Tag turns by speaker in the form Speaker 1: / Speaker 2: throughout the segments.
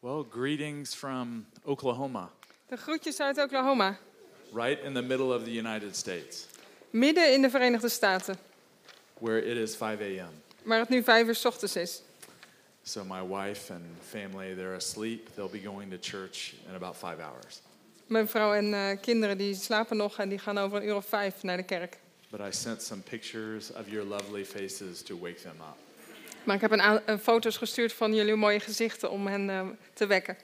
Speaker 1: Well, greetings from Oklahoma,
Speaker 2: De groetjes uit Oklahoma,
Speaker 1: right in the middle of the United States,
Speaker 2: midden in de Verenigde Staten,
Speaker 1: where it is 5 a.m.
Speaker 2: waar het nu vijf uur 's ochtends is.
Speaker 1: So my wife and family, they're asleep. They'll be going to church in about five hours.
Speaker 2: Mijn vrouw en eh, kinderen die slapen nog en die gaan over een uur of vijf naar de kerk.
Speaker 1: But I sent some pictures of your lovely faces to wake them up.
Speaker 2: Maar ik heb een, a- een foto's gestuurd van jullie mooie gezichten om hen eh, te wekken.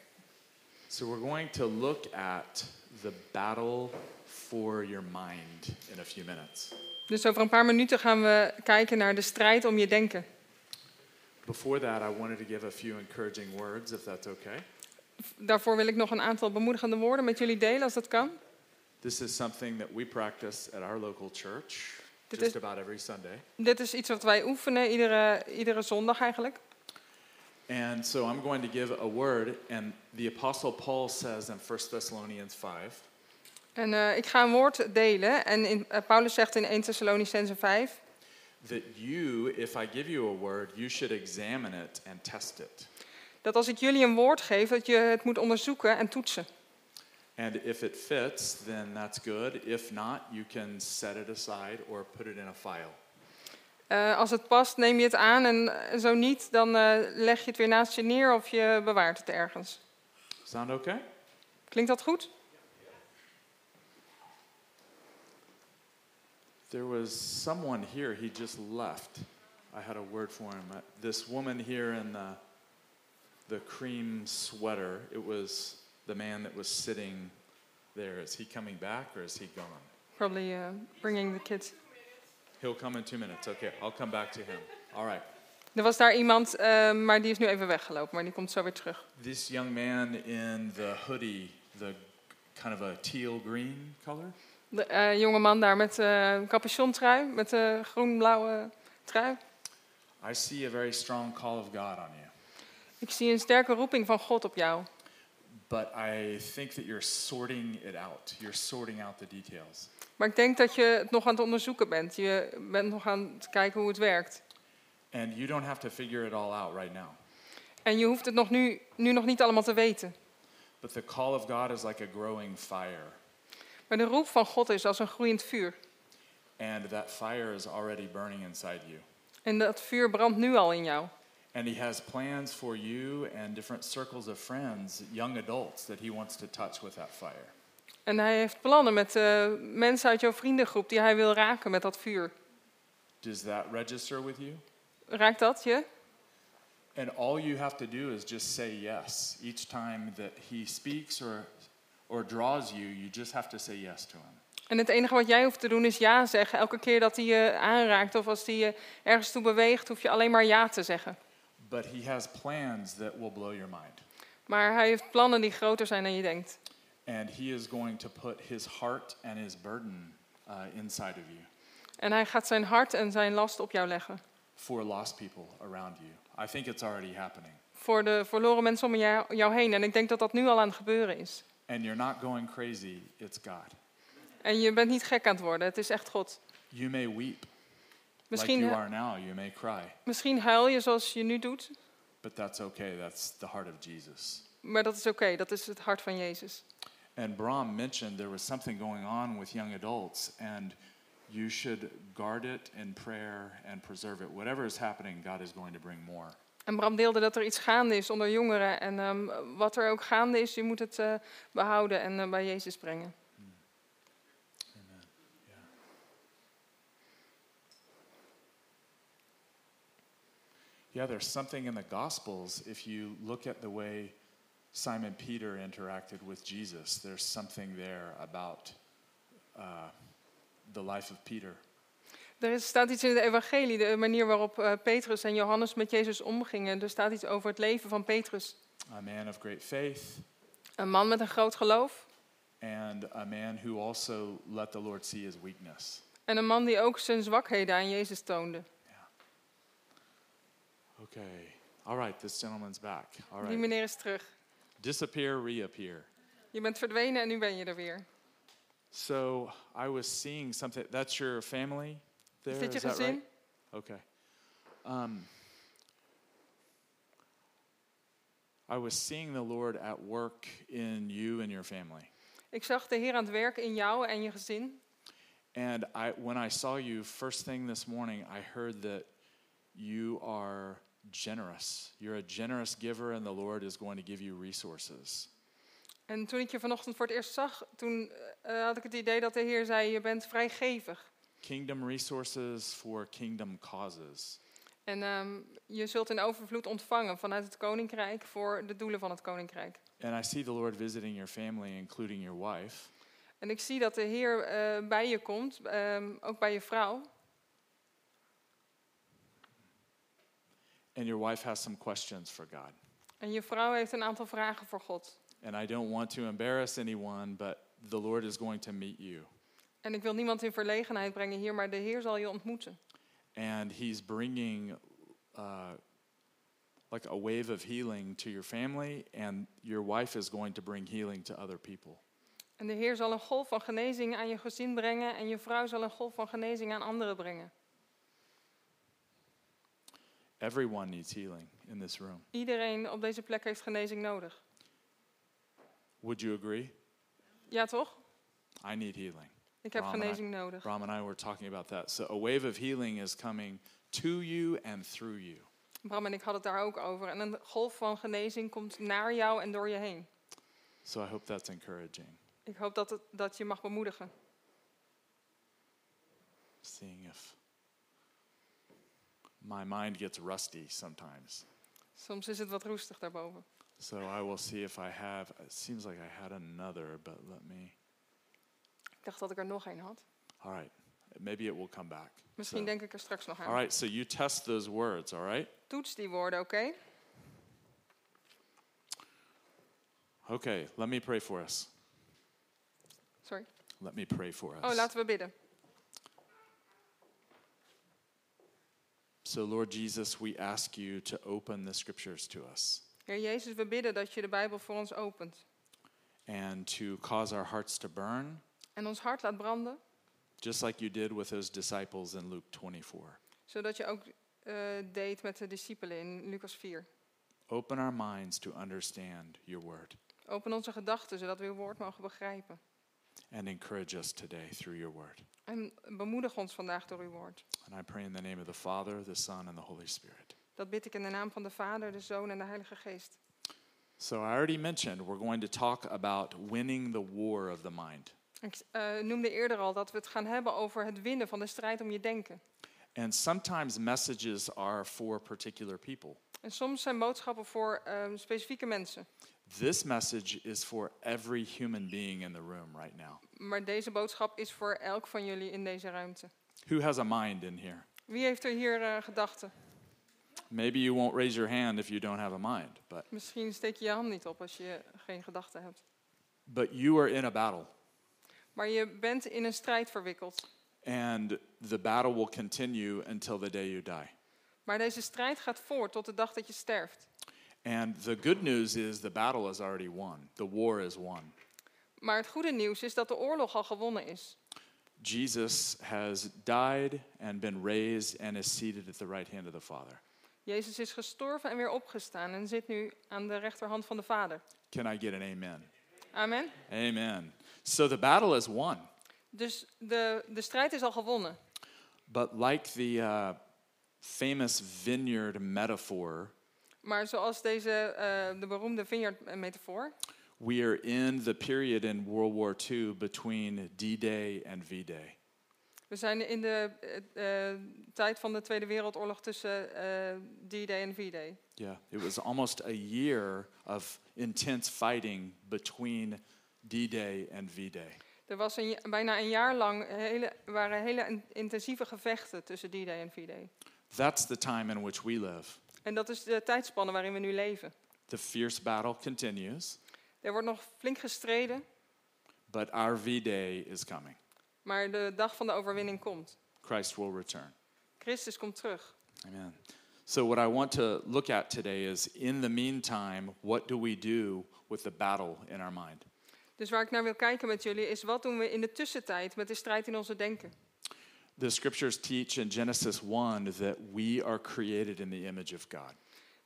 Speaker 1: So we're going to look at the battle for your mind in a few minutes.
Speaker 2: Dus over een paar minuten gaan we kijken naar de strijd om je denken.
Speaker 1: Before that, I wanted to give a few encouraging words, if that's okay.
Speaker 2: Daarvoor wil ik nog een aantal bemoedigende woorden met jullie delen, als dat kan.
Speaker 1: This is something that we practice at our local church
Speaker 2: Dit
Speaker 1: just
Speaker 2: is-
Speaker 1: about every Sunday.
Speaker 2: Dit is iets wat wij oefenen iedere, iedere zondag eigenlijk.
Speaker 1: And so I'm going to give a word, and the Apostle Paul says in 1 Thessalonians 5
Speaker 2: En eh, ik ga een woord delen. En in, eh, Paulus zegt in 1 Thessalonicense 5...
Speaker 1: that you, if I give you a word, you should examine it and test it.
Speaker 2: Dat als ik jullie een woord geef, dat je het moet onderzoeken en toetsen.
Speaker 1: And if it fits, then that's good. If not, you can set it aside or put it in a file.
Speaker 2: Eh, als het past, neem je het aan en eh, zo niet, dan eh, leg je het weer naast je neer of je bewaart het ergens.
Speaker 1: Sound okay?
Speaker 2: Klinkt dat goed?
Speaker 1: There was someone here, he just left. I had a word for him. Uh, This woman here in the, the cream sweater, it was the man that was sitting there. Is he coming back or is he gone?
Speaker 2: Probably eh, bringing the kids.
Speaker 1: He'll come in two minutes. Okay, I'll come back to him. All right.
Speaker 2: Er was daar iemand, eh, maar die is nu even weggelopen, maar die komt zo weer terug.
Speaker 1: This young man in the hoodie, the kind of a teal green color,
Speaker 2: De eh, jonge man daar met eh, een capuchontrui, met een groen-blauwe trui.
Speaker 1: I see a very strong call of God on you.
Speaker 2: Ik zie een sterke roeping van God op jou.
Speaker 1: But I think that you're sorting it out. You're sorting out the details.
Speaker 2: Maar ik denk dat je het nog aan het onderzoeken bent. Je bent nog aan het kijken hoe het werkt.
Speaker 1: And you don't have to figure it all out right now.
Speaker 2: En je hoeft het nog nu, nu nog niet allemaal te weten.
Speaker 1: But the call of God is like a growing fire,
Speaker 2: Maar de roep van God is als een groeiend vuur.
Speaker 1: and that fire is already burning inside you.
Speaker 2: En dat vuur brandt nu al in jou.
Speaker 1: And He has plans for you and different circles of friends, young adults, that He wants to touch with that fire.
Speaker 2: En hij heeft plannen met eh, mensen uit jouw vriendengroep die hij wil raken met dat vuur.
Speaker 1: Does that register with you?
Speaker 2: Raakt dat je?
Speaker 1: And all you have to do is just say yes. Each time that He speaks or, or draws you, you just have to say yes to Him.
Speaker 2: En het enige wat jij hoeft te doen is ja zeggen. Elke keer dat hij je aanraakt of als hij je ergens toe beweegt, hoef je alleen maar ja te zeggen.
Speaker 1: But He has plans that will blow your mind.
Speaker 2: Maar hij heeft plannen die groter zijn dan je denkt.
Speaker 1: And He is going to put His heart and His burden uh, inside of you.
Speaker 2: En hij gaat zijn hart en zijn last op jou leggen.
Speaker 1: for lost people around you. I think it's already happening.
Speaker 2: Voor de verloren mensen om jou jou heen. En ik denk dat dat nu al aan het gebeuren is.
Speaker 1: And you're not going crazy, it's God.
Speaker 2: En je bent niet gek aan het worden, het is echt God.
Speaker 1: You may weep
Speaker 2: Misschien,
Speaker 1: like you are now, you may cry,
Speaker 2: misschien huil je zoals je nu doet,
Speaker 1: but that's okay. That's the heart of Jesus.
Speaker 2: maar dat is oké, dat is het hart van Jezus.
Speaker 1: And Brahm mentioned there was something going on with young adults, and you should guard it in prayer and preserve it. Whatever is happening, God is going to bring more.
Speaker 2: En Bram deelde dat er iets gaande is onder jongeren. En ehm, wat er ook gaande is, je moet het eh, behouden en eh, bij Jezus brengen.
Speaker 1: Yeah, there's something in the Gospels. If you look at the way Simon Peter interacted with Jesus, there's something there about uh, the life of Peter.
Speaker 2: Er is, staat iets in de evangelie, de manier waarop eh, Petrus en Johannes met Jezus omgingen. Er staat iets over het leven van Petrus.
Speaker 1: A man of great faith
Speaker 2: Een man met een groot geloof.
Speaker 1: and a man who also let the Lord see his weakness.
Speaker 2: En een man die ook zijn zwakheden aan Jezus toonde.
Speaker 1: Okay. All right, this gentleman's back. All
Speaker 2: Die
Speaker 1: right.
Speaker 2: meneer is terug.
Speaker 1: Disappear, reappear.
Speaker 2: Je bent verdwenen en nu ben je er weer.
Speaker 1: So I was seeing something. That's your family there?
Speaker 2: Is dit je
Speaker 1: that right?
Speaker 2: gezin?
Speaker 1: Okay. Um, I was seeing the Lord at work in you and your family.
Speaker 2: Ik zag de Heer aan het werk in jou en je gezin.
Speaker 1: And I, when I saw you first thing this morning, I heard that you are generous. You're a generous giver, and the Lord is going to give you resources.
Speaker 2: En toen ik je vanochtend voor het eerst zag, toen eh, had ik het idee dat de Heer zei, je bent vrijgevig.
Speaker 1: Kingdom resources for kingdom causes.
Speaker 2: En ehm, je zult in overvloed ontvangen vanuit het koninkrijk voor de doelen van het koninkrijk.
Speaker 1: And I see the Lord visiting your family, including your wife.
Speaker 2: En ik zie dat de Heer eh, bij je komt, ehm, ook bij je vrouw.
Speaker 1: And your wife has some questions for God.
Speaker 2: En je vrouw heeft een aantal vragen voor God.
Speaker 1: And I don't want to embarrass anyone, but the Lord is going to meet you.
Speaker 2: En ik wil niemand in verlegenheid brengen hier, maar de Heer zal je ontmoeten.
Speaker 1: And He's bringing uh, like a wave of healing to your family, and your wife is going to bring healing to other people.
Speaker 2: En de Heer zal een golf van genezing aan je gezin brengen en je vrouw zal een golf van genezing aan anderen brengen.
Speaker 1: Everyone needs healing in this room.
Speaker 2: Iedereen op deze plek heeft genezing nodig.
Speaker 1: Would you agree?
Speaker 2: Ja, toch?
Speaker 1: I need healing.
Speaker 2: Ik heb
Speaker 1: Amen.
Speaker 2: genezing nodig.
Speaker 1: Ram and I were talking about that. So, a wave of healing is coming to you and through you.
Speaker 2: Bram en ik hadden het daar ook over. En een golf van genezing komt naar jou en door je heen.
Speaker 1: So, I hope that's encouraging.
Speaker 2: Ik hoop dat, het, dat je mag bemoedigen.
Speaker 1: Seeing if my mind gets rusty sometimes.
Speaker 2: Soms is het wat roestig daarboven.
Speaker 1: So, I will see if I have. It seems like I had another, but let me.
Speaker 2: Ik dacht dat ik er nog één had.
Speaker 1: All right. Maybe it will come back.
Speaker 2: Misschien
Speaker 1: So-
Speaker 2: denk ik er straks nog aan.
Speaker 1: all right. So, you test those words, all right?
Speaker 2: Toets die woorden, oké?
Speaker 1: Okay. Let me pray for us.
Speaker 2: Sorry.
Speaker 1: Let me pray for us.
Speaker 2: Oh, laten we bidden.
Speaker 1: So, Lord Jesus, we ask you to open the scriptures to us
Speaker 2: Heer Jezus, we bidden dat je de Bijbel voor ons opent.
Speaker 1: and to cause our hearts to burn,
Speaker 2: En ons hart laat branden,
Speaker 1: just like you did with those disciples in Luke 24.
Speaker 2: zodat je ook eh, deed met de discipelen in Lucas 4.
Speaker 1: Open our minds to understand your word
Speaker 2: Open onze gedachten, zodat we uw woord mogen begrijpen.
Speaker 1: and encourage us today through your word.
Speaker 2: En bemoedig ons vandaag door uw woord.
Speaker 1: And I pray in the name of the Father, the Son, and the Holy Spirit.
Speaker 2: Dat bid ik in de naam van de Vader, de Zoon en de Heilige Geest.
Speaker 1: So, I already mentioned we're going to talk about winning the war of the mind.
Speaker 2: Ik eh, noemde eerder al dat we het gaan hebben over het winnen van de strijd om je denken.
Speaker 1: And sometimes messages are for particular people.
Speaker 2: En soms zijn boodschappen voor eh, specifieke mensen.
Speaker 1: This message is for every human being in the room right now.
Speaker 2: Maar deze boodschap is voor elk van jullie in deze ruimte.
Speaker 1: Who has a mind in here?
Speaker 2: Wie heeft er hier eh, gedachten?
Speaker 1: Maybe you won't raise your hand if you don't have a mind, but
Speaker 2: Misschien steek je je hand niet op als je geen gedachten hebt.
Speaker 1: but you are in a battle
Speaker 2: Maar je bent in een strijd verwikkeld.
Speaker 1: and the battle will continue until the day you die.
Speaker 2: Maar deze strijd gaat voort tot de dag dat je sterft.
Speaker 1: And the good news is the battle is already won. The war is won.
Speaker 2: Maar het goede nieuws is dat de oorlog al gewonnen is.
Speaker 1: Jesus has died and been raised and is seated at the right hand of the Father.
Speaker 2: Jezus is gestorven en weer opgestaan en zit nu aan de rechterhand van de Vader.
Speaker 1: Can I get an amen?
Speaker 2: Amen.
Speaker 1: Amen. So the battle is won.
Speaker 2: Dus de, de strijd is al gewonnen.
Speaker 1: But like the uh, famous vineyard metaphor,
Speaker 2: Maar zoals deze, eh, de beroemde vineyard-metafoor,
Speaker 1: we are in the period in World War II between D Day and V Day.
Speaker 2: We zijn in de eh, eh, tijd van de Tweede Wereldoorlog tussen eh, D-Day en V-Day.
Speaker 1: Yeah, it was almost a year of intense fighting between D Day and V Day.
Speaker 2: Er was een, ja- bijna een jaar lang hele, waren hele in- intensieve gevechten tussen D-Day en V-Day.
Speaker 1: That's the time in which we live.
Speaker 2: En dat is de tijdspanne waarin we nu leven.
Speaker 1: The fierce battle continues,
Speaker 2: Er wordt nog flink gestreden,
Speaker 1: but our V Day is coming.
Speaker 2: maar de dag van de overwinning komt.
Speaker 1: Christ will return.
Speaker 2: Christus komt terug.
Speaker 1: Amen. So, what I want to look at today is in the meantime, what do we do with the battle in our mind?
Speaker 2: Dus waar ik naar wil kijken met jullie is wat doen we in de tussentijd met de strijd in onze denken.
Speaker 1: The scriptures teach in Genesis 1 that we are created in the image of God.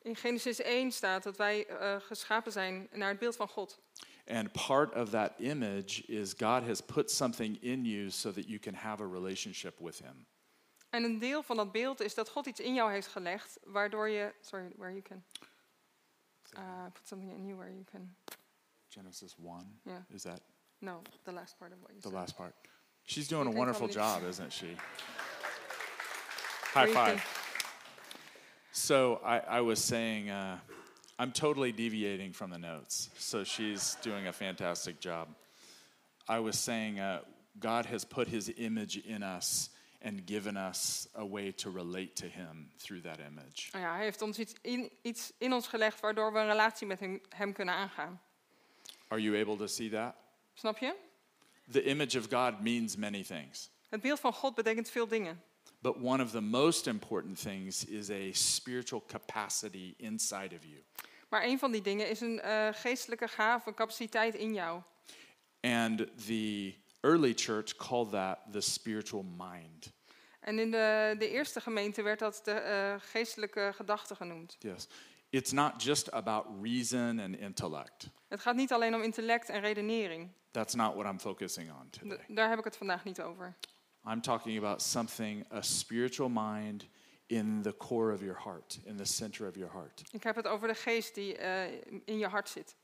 Speaker 2: In In Genesis 1 staat dat wij eh, geschapen zijn naar het beeld van God.
Speaker 1: And part of that image is God has put something in you so that you can have a relationship with Him.
Speaker 2: En een deel van dat beeld is dat God iets in jou heeft gelegd, waardoor je. Sorry, where you can. Uh, put something in you where you can.
Speaker 1: Genesis 1,
Speaker 2: Yeah.
Speaker 1: is that
Speaker 2: No, the last part of what you
Speaker 1: the
Speaker 2: said.
Speaker 1: last part? She's doing a
Speaker 2: Okay,
Speaker 1: wonderful
Speaker 2: probably.
Speaker 1: job, isn't she? High
Speaker 2: Where you
Speaker 1: five.
Speaker 2: can-
Speaker 1: So I, I was saying, uh, I'm totally deviating from the notes. So she's doing a fantastic job. I was saying, uh, God has put his image in us and given us a way to relate to him through that image.
Speaker 2: Oh ja, hij heeft ons iets in, iets in ons gelegd waardoor we een relatie met hem, hem kunnen aangaan.
Speaker 1: Are you able to see that?
Speaker 2: Snap je?
Speaker 1: The image of God means many things,
Speaker 2: Het beeld van God betekent veel dingen.
Speaker 1: but one of the most important things is a spiritual capacity inside of you.
Speaker 2: Maar een van die dingen is een eh, geestelijke gave, capaciteit in jou.
Speaker 1: And the early church called that the spiritual mind.
Speaker 2: En in de, de eerste gemeente werd dat de eh, geestelijke gedachte genoemd.
Speaker 1: Yes. It's not just about reason and intellect.
Speaker 2: Het gaat niet alleen om intellect en redenering.
Speaker 1: That's not what I'm focusing on
Speaker 2: D-
Speaker 1: today.
Speaker 2: daar heb ik het vandaag niet over.
Speaker 1: I'm talking about something, a spiritual mind in the core of your heart, in the center of your heart.
Speaker 2: Ik heb het over de geest die eh, in je hart zit.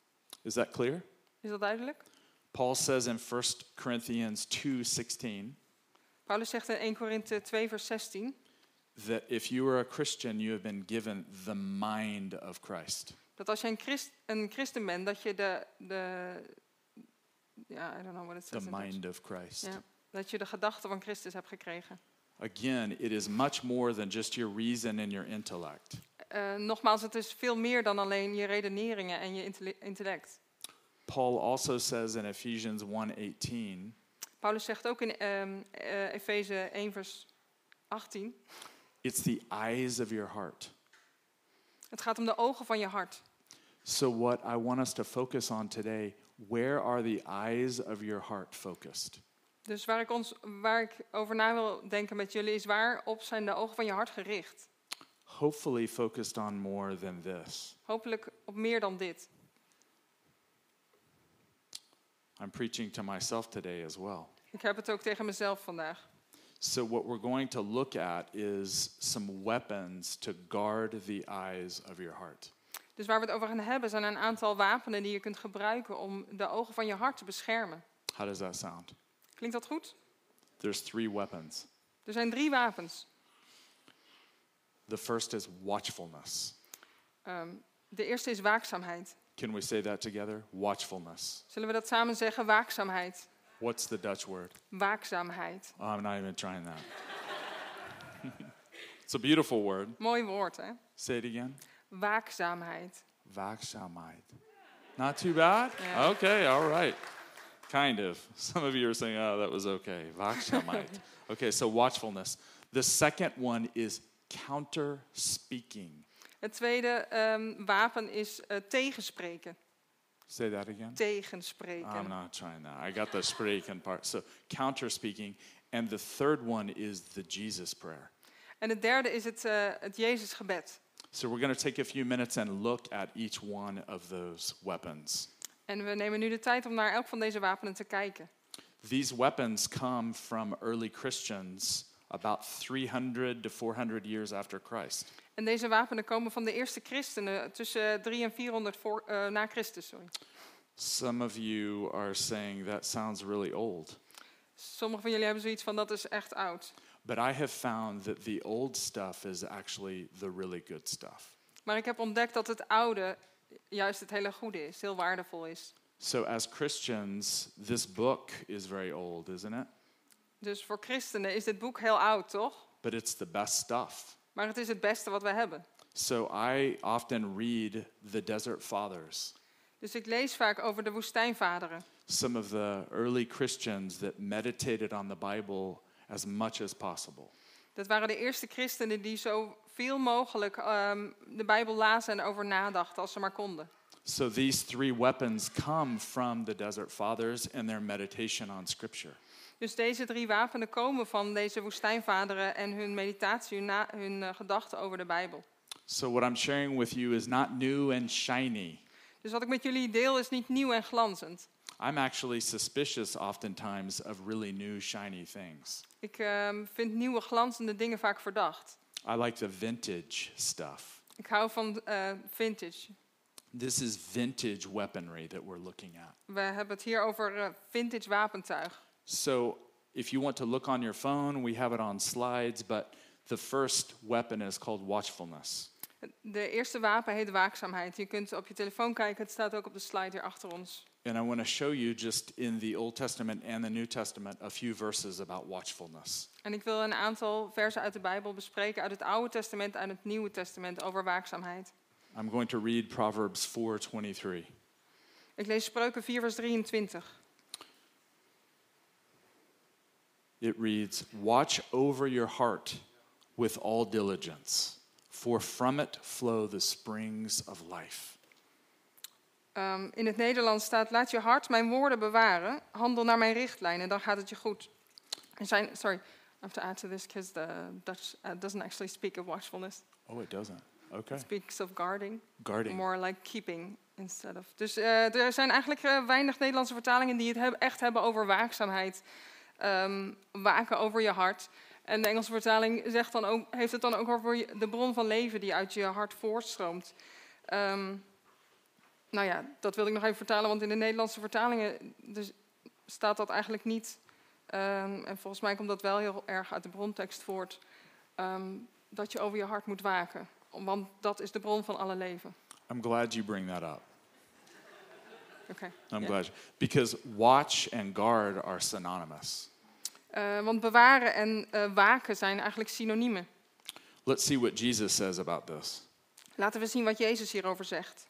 Speaker 1: Is that clear?
Speaker 2: Is dat duidelijk?
Speaker 1: Paul says in 1 Corinthians 2:16
Speaker 2: Paulus zegt in 1 Korinthe 2, vers 16
Speaker 1: that if you are a Christian, you have been given the mind of Christ.
Speaker 2: dat als je een, christ, een christen bent, dat je de. de ja, I don't know what
Speaker 1: The
Speaker 2: it says. in Dutch.
Speaker 1: mind of Christ.
Speaker 2: Ja, dat je de gedachte van Christus hebt gekregen.
Speaker 1: Again, it is much more than just your reason and your intellect.
Speaker 2: Eh, nogmaals, het is veel meer dan alleen je redeneringen en je intelle- intellect.
Speaker 1: Paul also says in Ephesians 1:18
Speaker 2: Paulus zegt ook in ehm Efeze 1, vers 18:
Speaker 1: It's the eyes of your heart.
Speaker 2: Het gaat om de ogen van je hart.
Speaker 1: So, what I want us to focus on today, where are the eyes of your heart focused?
Speaker 2: Dus waar ik, ons, waar ik over na wil denken met jullie is waarop zijn de ogen van je hart gericht?
Speaker 1: Hopefully, focused on more than this.
Speaker 2: Hopelijk op meer dan dit.
Speaker 1: I'm preaching to myself today as well.
Speaker 2: Ik heb het ook tegen mezelf vandaag.
Speaker 1: So, what we're going to look at is some weapons to guard the eyes of your heart.
Speaker 2: Dus waar we het over gaan hebben zijn een aantal wapenen die je kunt gebruiken om de ogen van je hart te beschermen.
Speaker 1: How does that sound?
Speaker 2: Klinkt dat goed?
Speaker 1: There's three weapons.
Speaker 2: Er zijn drie wapens.
Speaker 1: The first is watchfulness.
Speaker 2: Ehm, de eerste is waakzaamheid.
Speaker 1: Can we say that together? Watchfulness.
Speaker 2: Zullen we dat samen zeggen? Waakzaamheid.
Speaker 1: What's the Dutch word?
Speaker 2: Waakzaamheid.
Speaker 1: Oh, I'm not even trying that. it's a beautiful word.
Speaker 2: Mooi woord, hè?
Speaker 1: Say it again.
Speaker 2: Waakzaamheid.
Speaker 1: Waakzaamheid. Not too bad?
Speaker 2: Yeah.
Speaker 1: Okay, all right. Kind of. Some of you are saying, oh, that was okay. Waakzaamheid. okay, so watchfulness. The second one is counter speaking.
Speaker 2: Het tweede ehm, wapen is eh, tegenspreken.
Speaker 1: Say that again. I'm
Speaker 2: Tegenspreken.
Speaker 1: not trying that. I got the spreken part. So counter speaking. And the third one is the Jesus prayer.
Speaker 2: En het derde is het, eh, het Jezusgebed.
Speaker 1: So we're going to take a few minutes and look at each one of those weapons.
Speaker 2: En we nemen nu de tijd om naar elk van deze wapenen te kijken.
Speaker 1: These weapons come from early Christians about 300 to 400 years after Christ.
Speaker 2: En deze wapenen komen van de eerste christenen tussen 3 en 400 voor, eh, na Christus. Sorry.
Speaker 1: Some of you are saying that sounds really old,
Speaker 2: Sommigen van jullie hebben zoiets van dat is echt oud.
Speaker 1: but I have found that the old stuff is actually the really good stuff.
Speaker 2: Maar ik heb ontdekt dat het oude juist het hele goede is, heel waardevol is.
Speaker 1: So, as Christians, this book is very old, isn't it?
Speaker 2: Dus voor christenen is dit boek heel oud, toch?
Speaker 1: But it's the best stuff.
Speaker 2: Maar het is het beste wat we hebben.
Speaker 1: So, I often read the Desert Fathers.
Speaker 2: Dus ik lees vaak over de woestijnvaderen.
Speaker 1: some of the early Christians that meditated on the Bible as much as possible.
Speaker 2: Dat waren de eerste christenen die zoveel mogelijk ehm, de Bijbel lazen en over nadachten als ze maar konden.
Speaker 1: So these three weapons come from the Desert Fathers and their meditation on Scripture.
Speaker 2: Dus deze drie wapenen komen van deze woestijnvaderen en hun meditatie, hun, na- hun eh, gedachten over de Bijbel.
Speaker 1: So, what I'm sharing with you is not new and shiny.
Speaker 2: Dus wat ik met jullie deel is niet nieuw en glanzend.
Speaker 1: I'm actually suspicious oftentimes of really new, shiny things.
Speaker 2: Ik ehm, vind nieuwe glanzende dingen vaak verdacht.
Speaker 1: I like the vintage stuff.
Speaker 2: Ik hou van eh, vintage.
Speaker 1: This is vintage weaponry that we're looking at.
Speaker 2: We hebben het hier over eh, vintage wapentuig.
Speaker 1: So, if you want to look on your phone, we have it on slides, but the first weapon is called watchfulness.
Speaker 2: De eerste wapen heet waakzaamheid. Je kunt op je telefoon kijken, het staat ook op de slide hier achter ons.
Speaker 1: And I want to show you just in the Old Testament and the New Testament a few verses about watchfulness.
Speaker 2: En ik wil een aantal versen uit de Bijbel bespreken, uit het Oude Testament en het Nieuwe Testament, over waakzaamheid.
Speaker 1: I'm going to read Proverbs 4:23.
Speaker 2: Ik lees Spreuken 4, vers 23.
Speaker 1: It reads, "Watch over your heart with all diligence, for from it flow the springs of life."
Speaker 2: Ehm, in het Nederlands staat: Laat je hart mijn woorden bewaren. Handel naar mijn richtlijnen, dan gaat het je goed. Er zijn, sorry, I have to add to this because the Dutch uh, doesn't actually speak of watchfulness.
Speaker 1: Oh, it doesn't.
Speaker 2: It
Speaker 1: Okay.
Speaker 2: speaks of guarding,
Speaker 1: Guarding.
Speaker 2: more like keeping instead of. Dus eh, er zijn eigenlijk eh, weinig Nederlandse vertalingen die het heb- echt hebben over waakzaamheid. Ehm, waken over je hart. En de Engelse vertaling zegt dan ook, heeft het dan ook over je- de bron van leven die uit je hart voortstroomt. Ehm, nou ja, dat wil ik nog even vertalen, want in de Nederlandse vertalingen dus staat dat eigenlijk niet. Ehm, en volgens mij komt dat wel heel erg uit de brontekst voort. ehm, dat je over je hart moet waken. Want dat is de bron van alle leven.
Speaker 1: I'm glad you bring that up.
Speaker 2: Oké.
Speaker 1: I'm
Speaker 2: Ja.
Speaker 1: glad you- because watch and guard are synonymous.
Speaker 2: Eh, want bewaren en eh, waken zijn eigenlijk synoniemen.
Speaker 1: Let's see what Jesus says about this.
Speaker 2: Laten we zien wat Jezus hierover zegt.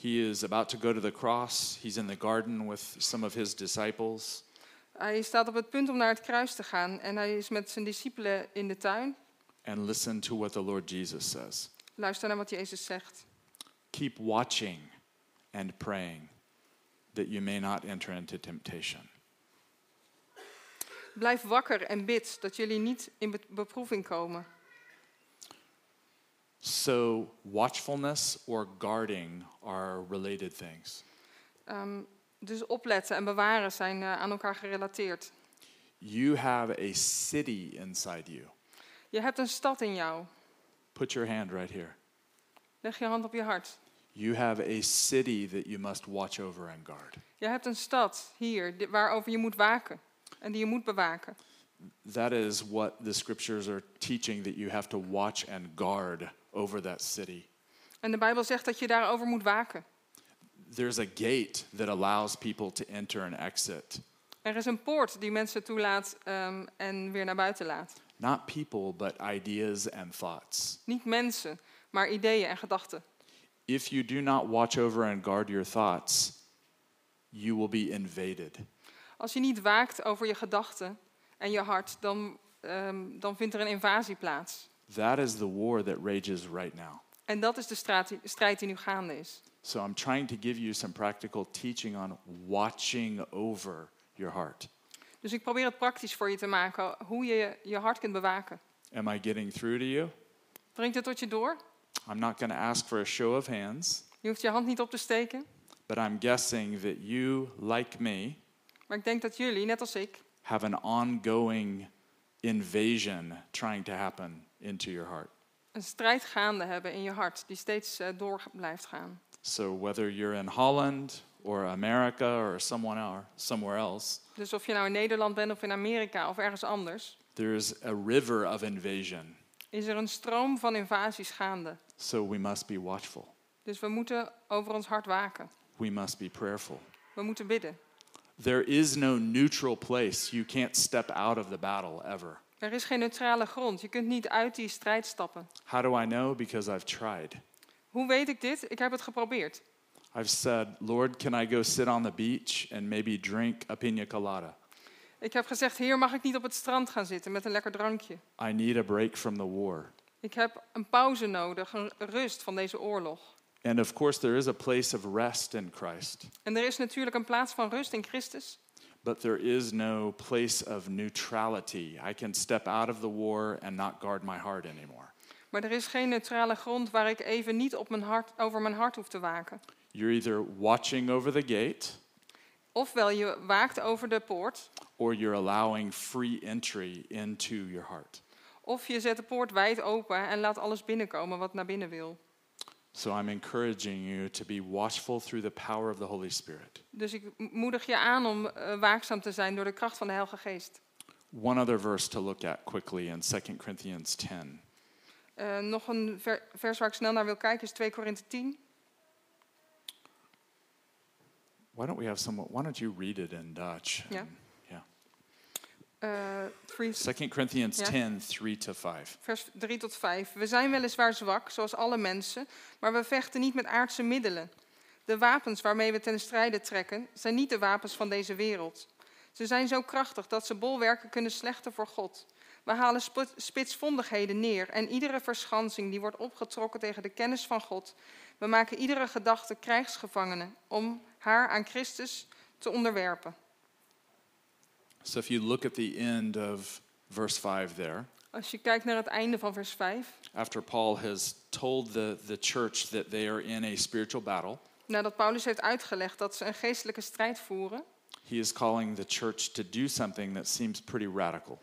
Speaker 1: He is about to go to the cross. He's in the garden with some of his disciples.
Speaker 2: Hij staat op het punt om naar het kruis te gaan en hij is met zijn discipelen in de tuin.
Speaker 1: And listen to what the Lord Jesus says
Speaker 2: Luister naar wat Jezus zegt.
Speaker 1: Keep watching and praying that you may not enter into temptation.
Speaker 2: Blijf wakker en bid dat jullie niet in be- beproeving komen.
Speaker 1: So, watchfulness or guarding are related things.
Speaker 2: Ehm, dus opletten en bewaren zijn eh, aan elkaar gerelateerd.
Speaker 1: You have a city inside you.
Speaker 2: Je hebt een stad in jou.
Speaker 1: Put your hand right here.
Speaker 2: Leg je hand op je hart.
Speaker 1: You have a city that you must watch over and guard.
Speaker 2: Je hebt een stad hier di- waarover je moet waken en die je moet bewaken.
Speaker 1: That is what the scriptures are teaching that you have to watch and guard over that city.
Speaker 2: En de Bijbel zegt dat je daarover moet waken.
Speaker 1: There's a gate that allows people to enter and exit.
Speaker 2: Er is een poort die mensen toelaat ehm, en weer naar buiten laat.
Speaker 1: Not people, but ideas and thoughts.
Speaker 2: Niet mensen, maar ideeën en gedachten.
Speaker 1: If you do not watch over and guard your thoughts, you will be invaded.
Speaker 2: Als je niet waakt over je gedachten en je hart, dan, ehm, dan vindt er een invasie plaats.
Speaker 1: That is the war that rages right now.
Speaker 2: En dat is de straat die- strijd die nu gaande is.
Speaker 1: So I'm trying to give you some practical teaching on watching over your heart.
Speaker 2: Dus ik probeer het praktisch voor je te maken, hoe je je hart kunt bewaken.
Speaker 1: Am I getting through to you?
Speaker 2: Dringt het tot je door?
Speaker 1: I'm not going to ask for a show of hands,
Speaker 2: Je hoeft je hand niet op te steken.
Speaker 1: but I'm guessing that you, like me,
Speaker 2: Maar ik denk dat jullie, net als ik,
Speaker 1: have an ongoing invasion trying to happen into your heart.
Speaker 2: een strijd gaande hebben in je hart die steeds eh, door blijft gaan.
Speaker 1: So whether you're in Holland or America or someone else, somewhere else,
Speaker 2: Dus of je nou in Nederland bent of in Amerika of ergens anders,
Speaker 1: there's a river of invasion.
Speaker 2: is er een stroom van invasies gaande.
Speaker 1: So we must be watchful.
Speaker 2: Dus we moeten over ons hart waken.
Speaker 1: We must be prayerful.
Speaker 2: We moeten bidden.
Speaker 1: There is no neutral place. You can't step out of the battle ever.
Speaker 2: Er is geen neutrale grond. Je kunt niet uit die strijd stappen.
Speaker 1: How do I know? Because I've tried.
Speaker 2: Hoe weet ik dit? Ik heb het geprobeerd.
Speaker 1: I've said, Lord, can I go sit on the beach and maybe drink a pina colada?
Speaker 2: Ik heb gezegd: Heer, mag ik niet op het strand gaan zitten met een lekker drankje?
Speaker 1: I need a break from the war.
Speaker 2: Ik heb een pauze nodig, een rust van deze oorlog.
Speaker 1: And of course, there is a place of rest in Christ,
Speaker 2: En er is natuurlijk een plaats van rust in Christus,
Speaker 1: but there is no place of neutrality. I can step out of the war and not guard my heart anymore.
Speaker 2: Maar er is geen neutrale grond waar ik even niet op mijn hart, over mijn hart hoef te waken.
Speaker 1: You're either watching over the gate
Speaker 2: Ofwel je waakt over de poort,
Speaker 1: or you're allowing free entry into your heart.
Speaker 2: of je zet de poort wijd open en laat alles binnenkomen wat naar binnen wil.
Speaker 1: So I'm encouraging you to be watchful through the power of the Holy Spirit.
Speaker 2: Dus ik m- moedig je aan om eh, waakzaam te zijn door de kracht van de Heilige Geest.
Speaker 1: One other verse to look at quickly in 2 Corinthians 10.
Speaker 2: Eh, nog een ver- vers waar ik snel naar wil kijken is 2 Korinthe 10.
Speaker 1: Why don't we have someone? Why don't you read it in Dutch?
Speaker 2: Yeah.
Speaker 1: And- Yeah.
Speaker 2: eh, 3
Speaker 1: Second Corinthians
Speaker 2: Yeah.
Speaker 1: 10, 3 to 5.
Speaker 2: vers 3 tot 5. We zijn weliswaar zwak, zoals alle mensen, maar we vechten niet met aardse middelen. De wapens waarmee we ten strijde trekken, zijn niet de wapens van deze wereld. Ze zijn zo krachtig dat ze bolwerken kunnen slechten voor God. We halen sp- spitsvondigheden neer en iedere verschansing die wordt opgetrokken tegen de kennis van God. We maken iedere gedachte krijgsgevangene om haar aan Christus te onderwerpen.
Speaker 1: So if you look at the end of verse 5 there,
Speaker 2: Als je kijkt naar het einde van vers 5,
Speaker 1: after Paul has told the, the church that they are in a spiritual battle,
Speaker 2: nadat Paulus heeft uitgelegd dat ze een geestelijke strijd voeren,
Speaker 1: he is calling the church to do something that seems pretty radical.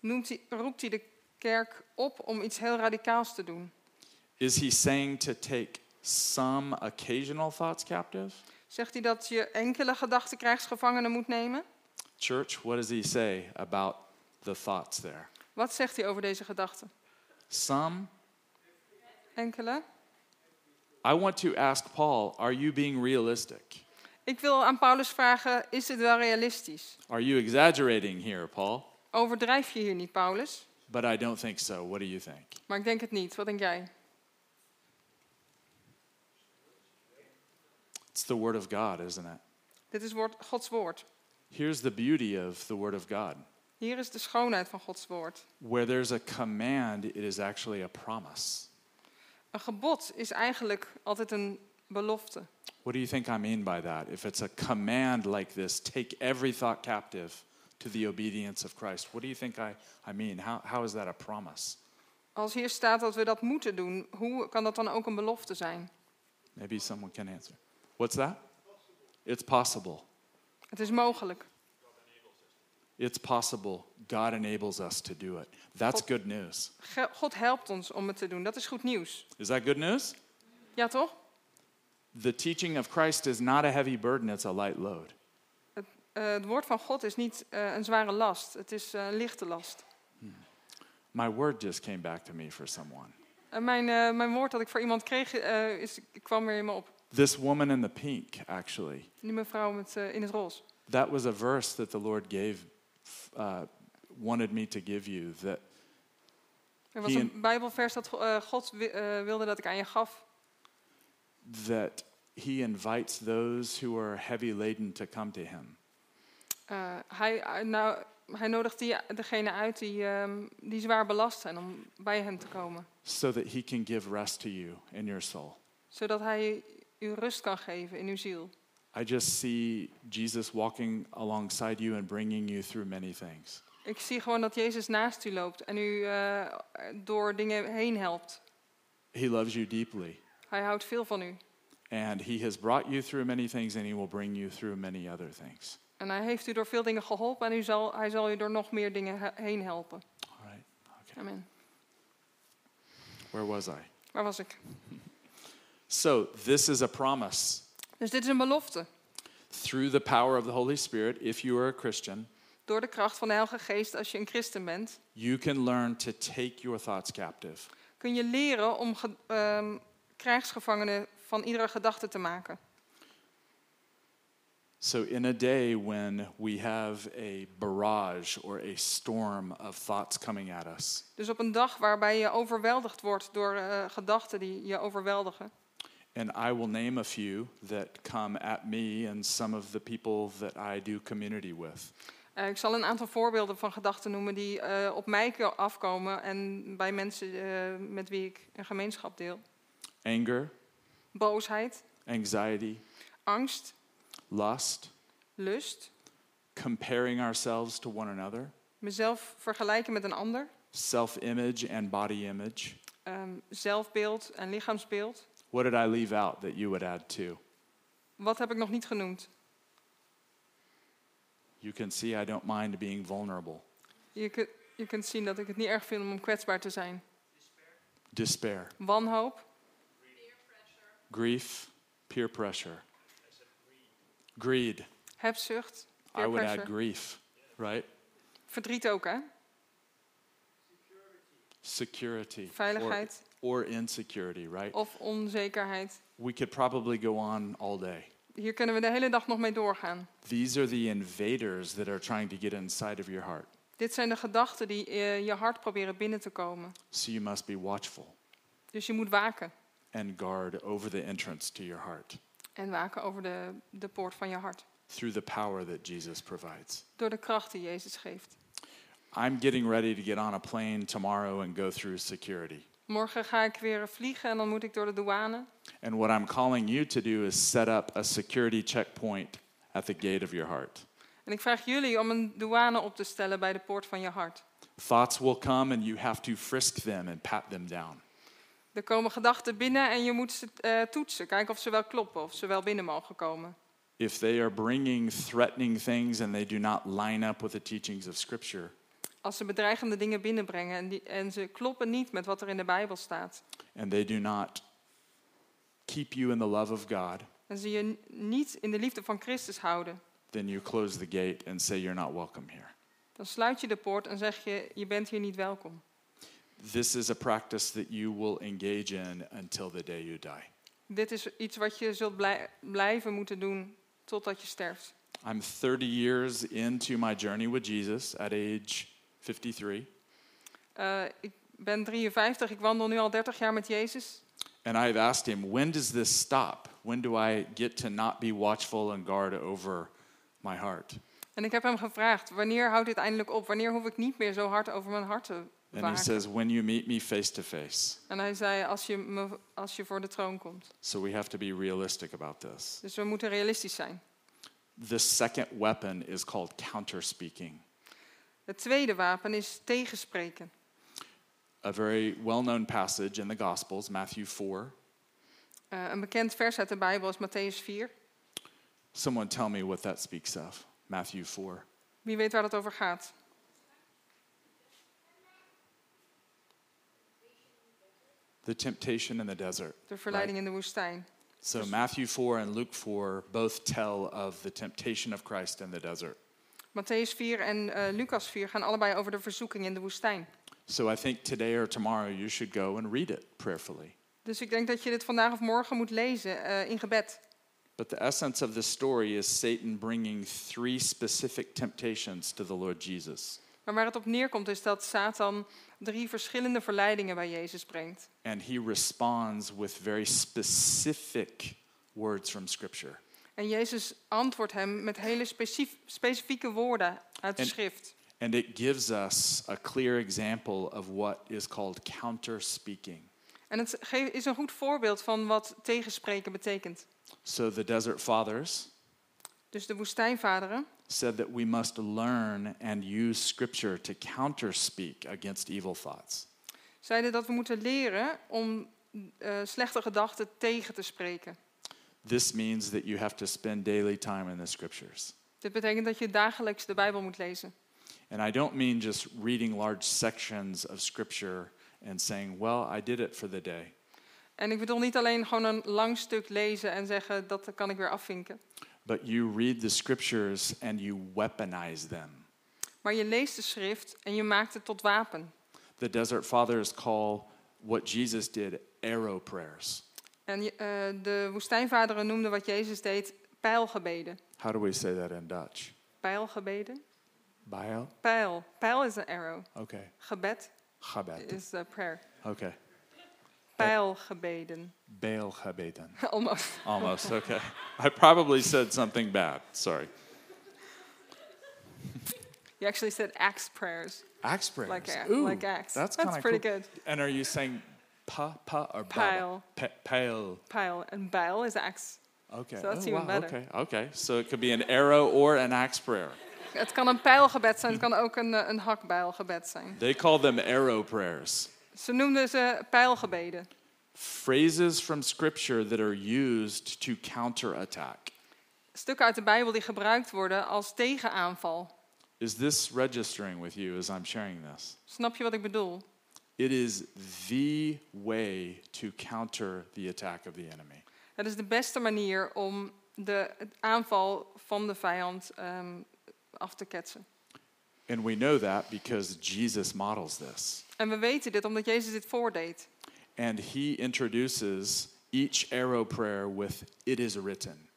Speaker 2: noemt hij, roept hij de kerk op om iets heel radicaals te doen.
Speaker 1: Is he saying to take some occasional thoughts captive?
Speaker 2: Zegt hij dat je enkele gedachten krijgsgevangenen moet nemen?
Speaker 1: Church, what does he say about the thoughts there?
Speaker 2: Wat zegt hij over deze gedachten?
Speaker 1: Some?
Speaker 2: Enkele?
Speaker 1: I want to ask Paul, are you being realistic?
Speaker 2: Ik wil aan Paulus vragen, is dit wel realistisch?
Speaker 1: Are you exaggerating here, Paul?
Speaker 2: Overdrijf je hier niet, Paulus?
Speaker 1: But I don't think so. What do you think?
Speaker 2: Maar ik denk het niet. Wat denk jij?
Speaker 1: It's the Word of God, isn't it?
Speaker 2: Dit is woord, Gods woord.
Speaker 1: Here's the beauty of the Word of God
Speaker 2: Hier is de schoonheid van Gods woord.
Speaker 1: where there's a command, it is actually a promise.
Speaker 2: Een gebod is eigenlijk altijd een belofte.
Speaker 1: What do you think I mean by that? If it's a command like this, take every thought captive to the obedience of Christ, what do you think I, I mean? How, how is that a promise?
Speaker 2: Als hier staat dat we dat moeten doen, hoe kan dat dan ook een belofte zijn?
Speaker 1: Maybe someone can answer. What's that? It's possible.
Speaker 2: Het is mogelijk.
Speaker 1: It's possible. God enables us to do it. That's
Speaker 2: God-
Speaker 1: good news.
Speaker 2: Ge- God helpt ons om het te doen. Dat is goed nieuws.
Speaker 1: Is that good news?
Speaker 2: Ja, toch?
Speaker 1: The teaching of Christ is not a heavy burden, it's a light load.
Speaker 2: Eh, het woord van God is niet eh, een zware last. Het is eh, een lichte last.
Speaker 1: My word just came back to me for someone.
Speaker 2: En mijn, eh, mijn woord dat ik voor iemand kreeg, eh, is, kwam weer in me op.
Speaker 1: This woman in the pink, actually,
Speaker 2: Die mevrouw met, eh, in het roze.
Speaker 1: that was a verse that the Lord gave, uh, wanted me to give you. That
Speaker 2: Er was
Speaker 1: Hier-
Speaker 2: een bijbelvers dat eh, God wi- eh, wilde dat ik aan je gaf.
Speaker 1: that He invites those who are heavy laden to come to Him.
Speaker 2: Eh, hij, eh, nou, hij nodigt die, degene uit die, ehm, die zwaar belast zijn om bij hem te komen.
Speaker 1: So that he can give rest to you in your soul.
Speaker 2: Zodat hij u rust kan geven in uw ziel.
Speaker 1: I just see Jesus walking alongside you and bringing you through many things.
Speaker 2: Ik zie gewoon dat Jezus naast u loopt en u eh, door dingen heen helpt.
Speaker 1: He loves you deeply,
Speaker 2: Hij houdt veel van u.
Speaker 1: and He has brought you through many things, and He will bring you through many other things.
Speaker 2: En hij heeft u door veel dingen geholpen en u zal, hij zal u door nog meer dingen he- heen helpen.
Speaker 1: All right. Okay.
Speaker 2: Amen.
Speaker 1: Where was I?
Speaker 2: Waar was ik?
Speaker 1: So, this is a promise.
Speaker 2: Dus dit is een belofte.
Speaker 1: Through the power of the Holy Spirit, if you are a Christian,
Speaker 2: Door de kracht van de Heilige Geest, als je een christen bent,
Speaker 1: you can learn to take your thoughts captive.
Speaker 2: kun je leren om ge- ehm, krijgsgevangenen van iedere gedachte te maken.
Speaker 1: So, in a day when we have a barrage or a storm of thoughts coming at us,
Speaker 2: Dus op een dag waarbij je overweldigd wordt door eh, gedachten die je overweldigen.
Speaker 1: and I will name a few that come at me and some of the people that I do community with.
Speaker 2: Eh, ik zal een aantal voorbeelden van gedachten noemen die eh, op mij ko- afkomen en bij mensen eh, met wie ik een gemeenschap deel.
Speaker 1: anger,
Speaker 2: Boosheid,
Speaker 1: anxiety,
Speaker 2: angst,
Speaker 1: lust,
Speaker 2: lust,
Speaker 1: comparing ourselves to one another,
Speaker 2: mezelf vergelijken met een ander,
Speaker 1: self image and body image,
Speaker 2: ehm, zelfbeeld en lichaamsbeeld.
Speaker 1: What did I leave out that you would add to?
Speaker 2: Wat heb ik nog niet genoemd?
Speaker 1: You can see I don't mind being vulnerable.
Speaker 2: Je, kun- je kunt zien dat ik het niet erg vind om kwetsbaar te zijn.
Speaker 1: Despair,
Speaker 2: Wanhoop,
Speaker 1: grief, peer pressure, greed.
Speaker 2: hebzucht,
Speaker 1: I
Speaker 2: peer
Speaker 1: would add
Speaker 2: pressure.
Speaker 1: grief, right?
Speaker 2: Verdriet ook, hè?
Speaker 1: Security or,
Speaker 2: Veiligheid
Speaker 1: or insecurity, right?
Speaker 2: of onzekerheid.
Speaker 1: We could probably go on all day.
Speaker 2: Hier kunnen we de hele dag nog mee doorgaan.
Speaker 1: These are the invaders that are trying to get inside of your heart.
Speaker 2: Dit zijn de gedachten die eh, je hart proberen binnen te komen.
Speaker 1: So you must be watchful
Speaker 2: Dus je moet waken.
Speaker 1: and guard over the entrance to your heart
Speaker 2: En waken over de, de poort van je hart.
Speaker 1: through the power that Jesus provides.
Speaker 2: Door de kracht die Jezus geeft.
Speaker 1: I'm getting ready to get on a plane tomorrow and go through security.
Speaker 2: Morgen ga ik weer vliegen en dan moet ik door de douane.
Speaker 1: And what I'm calling you to do is set up a security checkpoint at the gate of your heart.
Speaker 2: En ik vraag jullie om een douane op te stellen bij de poort van je hart.
Speaker 1: Thoughts will come and you have to frisk them and pat them down.
Speaker 2: Er komen gedachten binnen en je moet ze eh, toetsen. Kijken of ze wel kloppen, of ze wel binnen mogen komen.
Speaker 1: If they are bringing threatening things and they do not line up with the teachings of Scripture,
Speaker 2: Als ze bedreigende dingen binnenbrengen en, die, en ze kloppen niet met wat er in de Bijbel staat.
Speaker 1: and they do not keep you in the love of God,
Speaker 2: En ze je n- niet in de liefde van Christus houden.
Speaker 1: then you close the gate and say you're not welcome here.
Speaker 2: Dan sluit je de poort en zeg je, je bent hier niet welkom.
Speaker 1: This is a practice that you will engage in until the day you die.
Speaker 2: Dit is iets wat je zult blij- blijven moeten doen totdat je sterft.
Speaker 1: I'm 30 years into my journey with Jesus at age 53,
Speaker 2: Eh, ik ben 53, ik wandel nu al 30 jaar met Jezus.
Speaker 1: and I've asked him, When does this stop? When do I get to not be watchful and guard over my heart?
Speaker 2: En ik heb hem gevraagd, wanneer houdt dit eindelijk op? Wanneer hoef ik niet meer zo hard over mijn hart te
Speaker 1: And he
Speaker 2: waken?
Speaker 1: says, When you meet me face to face.
Speaker 2: En hij zei, als je, me, als je voor de troon komt.
Speaker 1: So we have to be realistic about this.
Speaker 2: Dus we moeten realistisch zijn.
Speaker 1: The second weapon is called counter speaking.
Speaker 2: Het tweede wapen is tegenspreken.
Speaker 1: A very well known passage in the Gospels, Matthew 4.
Speaker 2: Eh, een bekend vers uit de Bijbel is Matthäus 4.
Speaker 1: Someone tell me what that speaks of. Matthew 4.
Speaker 2: Wie weet waar dat over gaat?
Speaker 1: The temptation in the desert.
Speaker 2: De verleiding in de woestijn.
Speaker 1: So Matthew 4 and Luke 4 both tell of the temptation of Christ in the desert.
Speaker 2: Matthäus 4 en eh Lucas 4 gaan allebei over de verzoeking in de woestijn.
Speaker 1: So I think today or tomorrow you should go and read it prayerfully.
Speaker 2: Dus ik denk dat je dit vandaag of morgen moet lezen eh, in gebed.
Speaker 1: But the essence of the story is Satan bringing three specific temptations to the Lord Jesus.
Speaker 2: Maar waar het op neerkomt is dat Satan drie verschillende verleidingen bij Jezus brengt.
Speaker 1: And he responds with very specific words from Scripture.
Speaker 2: En Jezus antwoordt hem met hele specif- specifieke woorden uit de
Speaker 1: En-
Speaker 2: schrift.
Speaker 1: And it gives us a clear example of what is called counter speaking.
Speaker 2: En het ge- is een goed voorbeeld van wat tegenspreken betekent.
Speaker 1: So the desert fathers
Speaker 2: Dus de woestijnvaderen
Speaker 1: said that we must learn and use scripture to counterspeak against evil thoughts.
Speaker 2: zeiden dat we moeten leren om eh, slechte gedachten tegen te spreken.
Speaker 1: This means that you have to spend daily time in the scriptures.
Speaker 2: Dit betekent dat je dagelijks de Bijbel moet lezen.
Speaker 1: And I don't mean just reading large sections of scripture and saying, well, I did it for the day.
Speaker 2: En ik bedoel niet alleen gewoon een lang stuk lezen en zeggen dat kan ik weer afvinken.
Speaker 1: But you read the scriptures and you weaponize them.
Speaker 2: Maar je leest de schrift en je maakt het tot wapen.
Speaker 1: The desert fathers call what Jesus did arrow prayers.
Speaker 2: En je- eh, de woestijnvaderen noemden wat Jezus deed pijlgebeden.
Speaker 1: How do we say that in Dutch?
Speaker 2: Pijlgebeden?
Speaker 1: Bio?
Speaker 2: Pijl. Pijl is een arrow.
Speaker 1: Okay.
Speaker 2: Gebed
Speaker 1: Gebed.
Speaker 2: is a prayer.
Speaker 1: Okay.
Speaker 2: Pijlgebeden.
Speaker 1: Beelgebeden.
Speaker 2: Almost.
Speaker 1: Almost, okay. I probably said something bad. Sorry.
Speaker 2: You actually said axe prayers.
Speaker 1: Axe prayers.
Speaker 2: Like, a,
Speaker 1: Ooh,
Speaker 2: like axe.
Speaker 1: That's,
Speaker 2: That's
Speaker 1: kinda
Speaker 2: pretty
Speaker 1: cool.
Speaker 2: good.
Speaker 1: And are you saying pa, pa, or Baba?
Speaker 2: Pile.
Speaker 1: Pa- pale.
Speaker 2: Pijl. En bijl is axe.
Speaker 1: Okay.
Speaker 2: So that's
Speaker 1: oh,
Speaker 2: even
Speaker 1: wow.
Speaker 2: better.
Speaker 1: Okay. Okay. So it could be an arrow or an axe prayer.
Speaker 2: Het kan een pijlgebed zijn, het kan ook een, eh, een hakbijlgebed zijn.
Speaker 1: They call them arrow prayers.
Speaker 2: Ze noemden ze pijlgebeden.
Speaker 1: phrases from scripture that are used to counterattack.
Speaker 2: Stukken uit de Bijbel die gebruikt worden als tegenaanval.
Speaker 1: Is this registering with you as I'm sharing this?
Speaker 2: Snap je wat ik bedoel?
Speaker 1: It is the way to counter the attack of the enemy.
Speaker 2: Het is de beste manier om de het aanval van de vijand ehm, af te ketsen.
Speaker 1: And we know that because Jesus models this.
Speaker 2: En we weten dit omdat Jezus dit voordeed.
Speaker 1: And he introduces each arrow prayer with, It is written.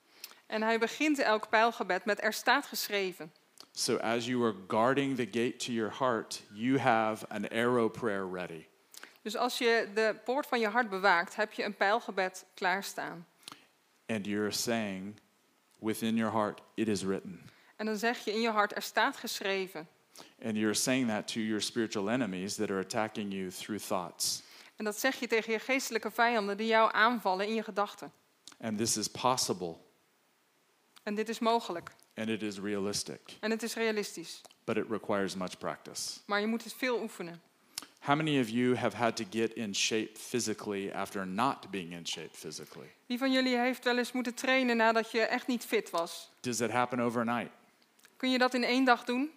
Speaker 2: En hij begint elk pijlgebed met er staat geschreven.
Speaker 1: So as you are guarding the gate to your heart, you have an arrow prayer ready.
Speaker 2: Dus als je de poort van je hart bewaakt, heb je een pijlgebed klaarstaan.
Speaker 1: And you're saying within your heart, It is written.
Speaker 2: En dan zeg je in je hart, er staat geschreven.
Speaker 1: And you're saying that to your spiritual enemies that are attacking you through thoughts.
Speaker 2: En dat zeg je tegen je geestelijke vijanden die jou aanvallen in je gedachten.
Speaker 1: And this is possible
Speaker 2: En dit is mogelijk.
Speaker 1: and it is realistic,
Speaker 2: En het is realistisch.
Speaker 1: but het requires much practice.
Speaker 2: Maar je moet het veel oefenen.
Speaker 1: How many of you have had to get in shape physically after not being in shape physically?
Speaker 2: Wie van jullie heeft wel eens moeten trainen nadat je echt niet fit was?
Speaker 1: Does it happen overnight?
Speaker 2: Kun je dat in één dag doen?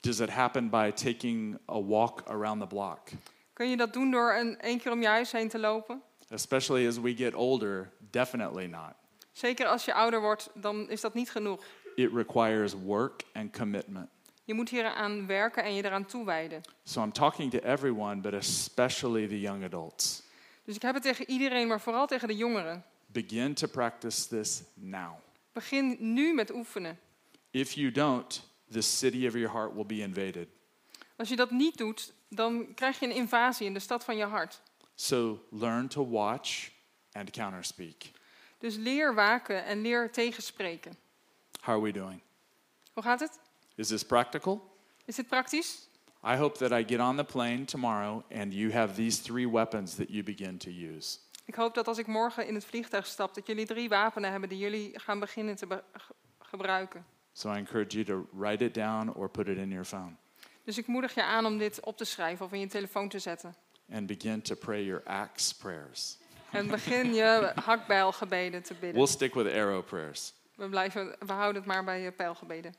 Speaker 1: Does it happen by taking a walk around the block?
Speaker 2: Kun je dat doen door een, één keer om je huis heen te lopen?
Speaker 1: Especially as we get older, definitely not.
Speaker 2: Zeker als je ouder wordt, dan is dat niet genoeg.
Speaker 1: It requires work and commitment.
Speaker 2: Je moet hier aan werken en je eraan toewijden.
Speaker 1: So I'm talking to everyone, but especially the young adults.
Speaker 2: Dus ik heb het tegen iedereen, maar vooral tegen de jongeren.
Speaker 1: Begin to practice this now.
Speaker 2: Begin nu met oefenen.
Speaker 1: If you don't, the city of your heart will be invaded.
Speaker 2: Als je dat niet doet, dan krijg je een invasie in de stad van je hart.
Speaker 1: So learn to watch and counterspeak.
Speaker 2: Dus leer waken en leer tegenspreken.
Speaker 1: How are we doing?
Speaker 2: Hoe gaat het?
Speaker 1: Is this practical?
Speaker 2: Is dit praktisch?
Speaker 1: I hope that I get on the plane tomorrow and you have these three weapons that you begin to use.
Speaker 2: Ik hoop dat als ik morgen in het vliegtuig stap, dat jullie drie wapenen hebben die jullie gaan beginnen te be- ge- gebruiken.
Speaker 1: So I encourage you to write it down or put it in your phone
Speaker 2: Dus ik moedig je aan om dit op te schrijven of in je telefoon te zetten.
Speaker 1: and begin to pray your axe prayers.
Speaker 2: En begin je hakbijlgebeden te
Speaker 1: We'll
Speaker 2: bidden.
Speaker 1: stick with arrow prayers.
Speaker 2: We, blijven, we houden het maar bij je pijlgebeden.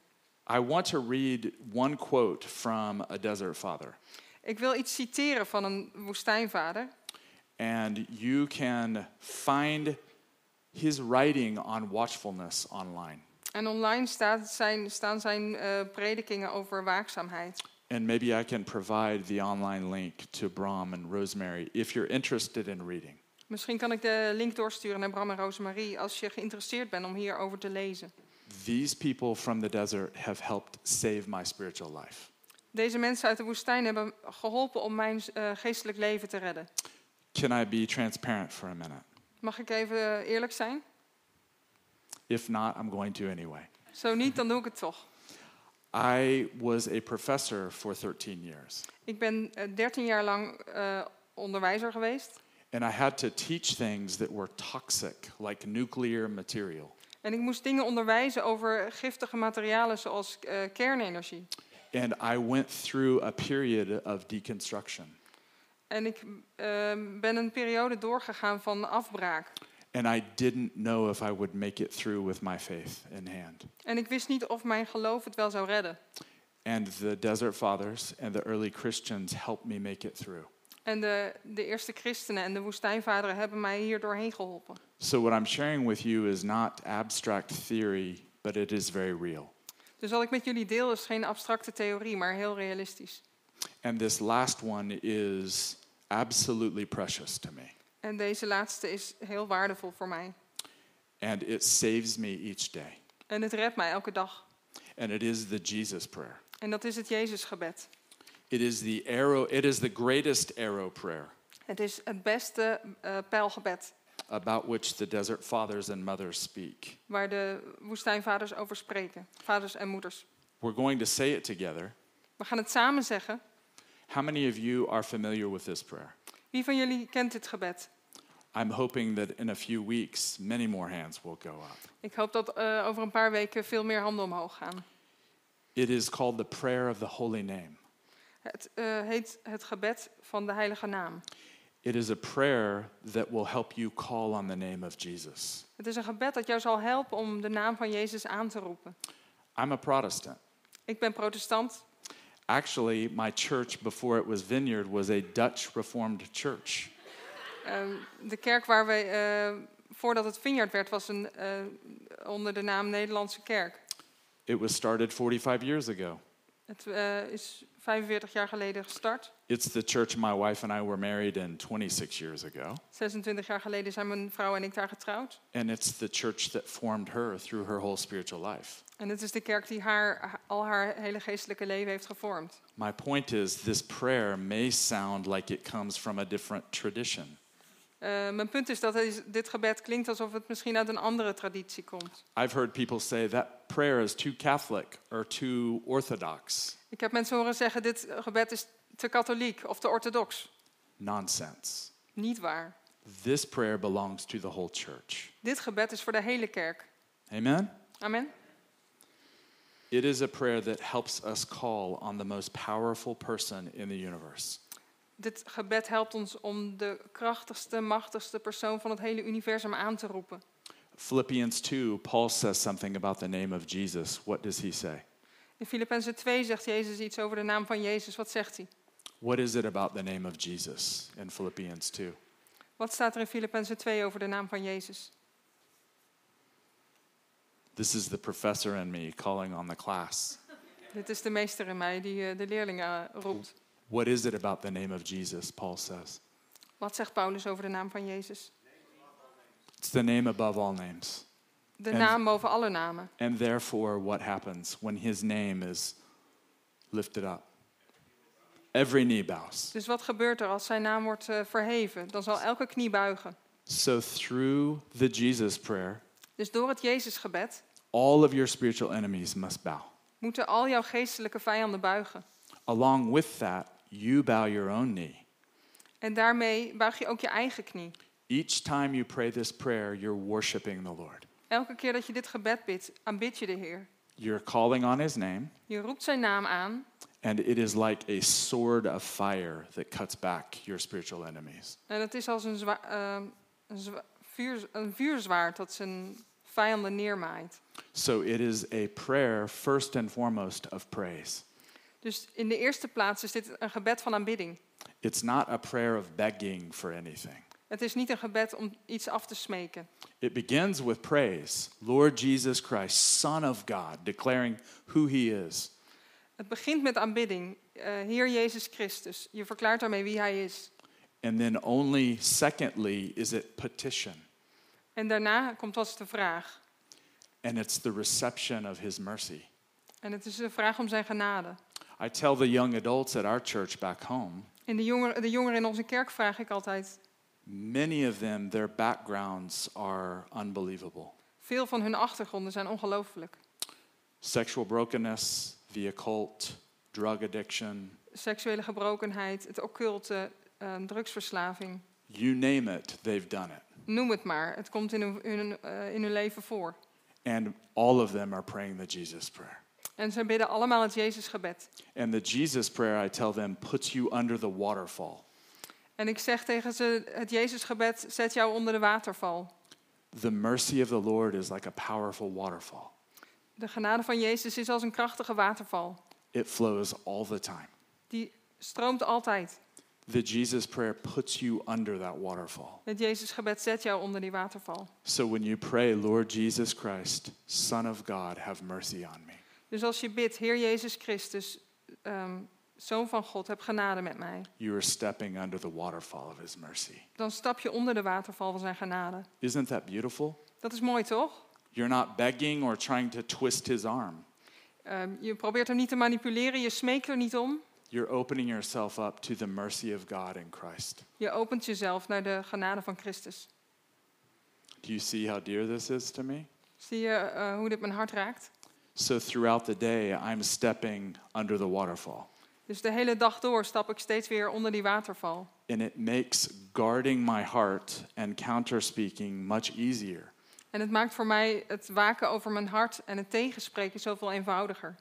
Speaker 1: I want to read one quote from a desert father.
Speaker 2: Ik wil iets citeren van een woestijnvader.
Speaker 1: and you can find his writing on watchfulness online.
Speaker 2: En online staat zijn, staan zijn eh, predikingen over waakzaamheid.
Speaker 1: And maybe I can provide the online link to Bram and Rosemary if you're interested in reading.
Speaker 2: Misschien kan ik de link doorsturen naar Bram en Rosemarie als je geïnteresseerd bent om hierover te lezen.
Speaker 1: These people from the desert have helped save my spiritual life.
Speaker 2: Deze mensen uit de woestijn hebben geholpen om mijn eh, geestelijk leven te redden.
Speaker 1: Can I be transparent for a minute?
Speaker 2: Mag ik even eh, eerlijk zijn?
Speaker 1: If not, I'm going to anyway.
Speaker 2: Zo niet, dan doe ik het toch.
Speaker 1: I was a professor for 13 years,
Speaker 2: Ik ben eh, 13 jaar lang eh, onderwijzer geweest.
Speaker 1: and I had to teach things that were toxic, like nuclear material.
Speaker 2: En ik moest dingen onderwijzen over giftige materialen zoals eh, kernenergie.
Speaker 1: And I went through a period of deconstruction.
Speaker 2: En ik eh, ben een periode doorgegaan van afbraak.
Speaker 1: And I didn't know if I would make it through with my faith in hand.
Speaker 2: En ik wist niet of mijn geloof het wel zou redden.
Speaker 1: And the Desert Fathers and the early Christians helped me make it through.
Speaker 2: En de, de eerste christenen en de woestijnvaderen hebben mij hier doorheen geholpen.
Speaker 1: So, what I'm sharing with you is not abstract theory, but it is very real.
Speaker 2: Dus wat ik met jullie deel is geen abstracte theorie, maar heel realistisch.
Speaker 1: And this last one is absolutely precious to me.
Speaker 2: En deze laatste is heel waardevol voor mij.
Speaker 1: And it saves me each day.
Speaker 2: En het redt mij elke dag.
Speaker 1: And it is the Jesus prayer.
Speaker 2: En dat is het Jezusgebed.
Speaker 1: It is the arrow, it is the greatest arrow prayer.
Speaker 2: Het is het beste eh pijlgebed
Speaker 1: about which the desert fathers and mothers speak.
Speaker 2: waar de woestijnvaders over spreken. Vaders en moeders.
Speaker 1: We're going to say it together.
Speaker 2: We gaan het samen zeggen.
Speaker 1: How many of you are familiar with this prayer?
Speaker 2: Wie van jullie kent dit gebed?
Speaker 1: I'm hoping that in a few weeks, many more hands will go up.
Speaker 2: Ik hoop dat eh, over een paar weken veel meer handen omhoog gaan.
Speaker 1: It is called the prayer of the holy name.
Speaker 2: Het eh, heet het gebed van de heilige naam.
Speaker 1: It is a prayer that will help you call on the name of Jesus.
Speaker 2: Het is een gebed dat jou zal helpen om de naam van Jezus aan te roepen.
Speaker 1: I'm a Protestant.
Speaker 2: Ik ben protestant.
Speaker 1: Actually, my church before it was Vineyard was a Dutch Reformed church.
Speaker 2: Ehm, de kerk waar wij, eh, voordat het Vineyard werd, was een, eh, onder de naam Nederlandse Kerk.
Speaker 1: It was started 45 years ago.
Speaker 2: Het eh, is 45 jaar geleden gestart.
Speaker 1: It's the church my wife and I were married in 26 years ago,
Speaker 2: 26 jaar geleden zijn mijn vrouw en ik daar getrouwd.
Speaker 1: and it's the church that formed her through her whole spiritual life.
Speaker 2: En het is de kerk die haar, al haar hele geestelijke leven heeft gevormd.
Speaker 1: My point is, this prayer may sound like it comes from a different tradition.
Speaker 2: Eh, mijn punt is dat is- dit gebed klinkt alsof het misschien uit een andere traditie komt.
Speaker 1: I've heard people say that prayer is too Catholic or too Orthodox.
Speaker 2: Ik heb mensen horen zeggen, dit eh, gebed is te katholiek of te orthodox.
Speaker 1: Nonsense.
Speaker 2: Niet waar.
Speaker 1: This prayer belongs to the whole church.
Speaker 2: Dit gebed is voor de hele kerk.
Speaker 1: Amen?
Speaker 2: Amen.
Speaker 1: It is a prayer that helps us call on the most powerful person in the universe.
Speaker 2: Dit gebed helpt ons om de krachtigste, machtigste persoon van het hele universum aan te roepen.
Speaker 1: Philippians 2, Paul says something about the name of Jesus. What does he say?
Speaker 2: In Filippenzen 2 zegt Jezus iets over de naam van Jezus. Wat zegt hij?
Speaker 1: What is it about the name of Jesus in Philippians 2?
Speaker 2: Wat staat er in Filippenzen 2 over de naam van Jezus?
Speaker 1: This is the professor in me calling on the class.
Speaker 2: Dit is de meester in mij die eh, de leerlingen eh, roept.
Speaker 1: What is it about the name of Jesus, Paul says?
Speaker 2: Wat zegt Paulus over de naam van Jezus?
Speaker 1: It's the name above all names.
Speaker 2: De
Speaker 1: En-
Speaker 2: naam boven alle namen.
Speaker 1: And therefore, what happens when his name is lifted up? Every knee bows.
Speaker 2: Dus wat gebeurt er als zijn naam wordt eh, verheven? Dan zal elke knie buigen.
Speaker 1: So, through the Jesus prayer,
Speaker 2: Dus door het Jezusgebed
Speaker 1: all of your spiritual enemies must bow.
Speaker 2: moeten al jouw geestelijke vijanden buigen.
Speaker 1: Along with that, you bow your own knee.
Speaker 2: En daarmee buig je ook je eigen knie.
Speaker 1: Each time you pray this prayer, you're worshiping the Lord.
Speaker 2: Elke keer dat je dit gebed bidt, aanbid je de Heer.
Speaker 1: You're calling on his name,
Speaker 2: Je roept zijn naam aan
Speaker 1: and it is like a sword of fire that cuts back your spiritual enemies.
Speaker 2: en het is als een, zwa- ehm, een, zwa- vuur, een vuurzwaard dat zijn vijanden neermaait.
Speaker 1: So, it is a prayer, first and foremost, of praise.
Speaker 2: Dus in de eerste plaats is dit een gebed van aanbidding.
Speaker 1: It's not a prayer of begging for anything.
Speaker 2: Het is niet een gebed om iets af te smeken.
Speaker 1: It begins with praise, Lord Jesus Christ, Son of God, declaring who he is.
Speaker 2: Het begint met aanbidding. Eh, Heer Jezus Christus, je verklaart daarmee wie Hij is.
Speaker 1: And then, only secondly, is it petition,
Speaker 2: En daarna komt pas de vraag.
Speaker 1: and it's the reception of his mercy.
Speaker 2: En het is een vraag om zijn genade.
Speaker 1: I tell the young adults at our church back home,
Speaker 2: En de jongeren, de jongeren in onze kerk vraag ik altijd.
Speaker 1: many of them, their backgrounds are unbelievable
Speaker 2: Veel van hun achtergronden zijn ongelooflijk.
Speaker 1: sexual brokenness, the occult, drug addiction,
Speaker 2: seksuele gebrokenheid, het occulte, eh, drugsverslaving.
Speaker 1: you name it, they've done it.
Speaker 2: Noem het maar. Het komt in hun, in hun, eh, in hun leven voor.
Speaker 1: And all of them are praying the Jesus prayer.
Speaker 2: En zij bidden allemaal het Jezusgebed.
Speaker 1: And the Jesus prayer, I tell them, puts you under the waterfall.
Speaker 2: En ik zeg tegen ze, het Jezusgebed zet jou onder de waterval.
Speaker 1: The mercy of the Lord is like a powerful waterfall,
Speaker 2: De genade van Jezus is als een krachtige waterval.
Speaker 1: it flows all the time.
Speaker 2: Die stroomt altijd.
Speaker 1: The Jesus prayer puts you under that waterfall.
Speaker 2: Het Jezusgebed zet jou onder die waterval.
Speaker 1: So when you pray, Lord Jesus Christ, Son of God, have mercy on me,
Speaker 2: Dus als je bidt, Heer Jezus Christus, ehm, Zoon van God, heb genade met mij.
Speaker 1: you are stepping under the waterfall of his mercy.
Speaker 2: Dan stap je onder de waterval van zijn genade.
Speaker 1: Isn't that beautiful?
Speaker 2: Dat is mooi, toch?
Speaker 1: You're not begging or trying to twist his arm.
Speaker 2: Ehm, je probeert hem niet te manipuleren, je smeekt er niet om.
Speaker 1: You're opening yourself up to the mercy of God in Christ.
Speaker 2: Je opent jezelf naar de genade van Christus.
Speaker 1: Do you see how dear this is to me?
Speaker 2: Zie je eh, hoe dit mijn hart raakt?
Speaker 1: So throughout the day, I'm stepping under the waterfall.
Speaker 2: Dus de hele dag door stap ik steeds weer onder die waterval.
Speaker 1: And it makes guarding my heart and counter speaking much easier.
Speaker 2: En het maakt voor mij het waken over mijn hart en het tegenspreken zoveel eenvoudiger.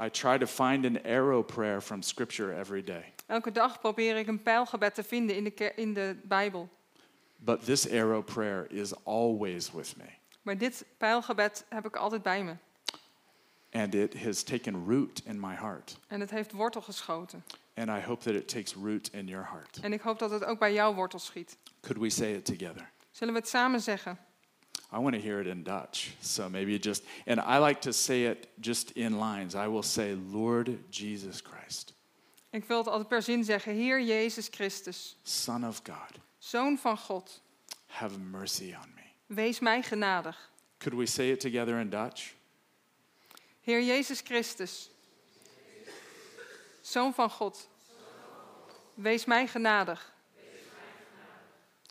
Speaker 1: I try to find an arrow prayer from Scripture every day.
Speaker 2: Elke dag probeer ik een pijlgebed te vinden in de, ke- in de Bijbel.
Speaker 1: But this arrow prayer is always with me.
Speaker 2: Maar dit pijlgebed heb ik altijd bij me.
Speaker 1: And it has taken root in my heart.
Speaker 2: En het heeft wortel geschoten.
Speaker 1: And I hope that it takes root in your heart.
Speaker 2: En ik hoop dat het ook bij jou wortel schiet.
Speaker 1: Could we say it together?
Speaker 2: Zullen we het samen zeggen?
Speaker 1: I want to hear it in Dutch. So maybe you just, and I like to say it just in lines. I will say, Lord Jesus Christ,
Speaker 2: Ik wil het altijd per zin zeggen. Heer Jezus Christus,
Speaker 1: Son of God,
Speaker 2: Zoon van God,
Speaker 1: have mercy on me.
Speaker 2: wees mij genadig.
Speaker 1: Could we say it together in Dutch?
Speaker 2: Heer Jezus Christus, Zoon van God, wees mij genadig.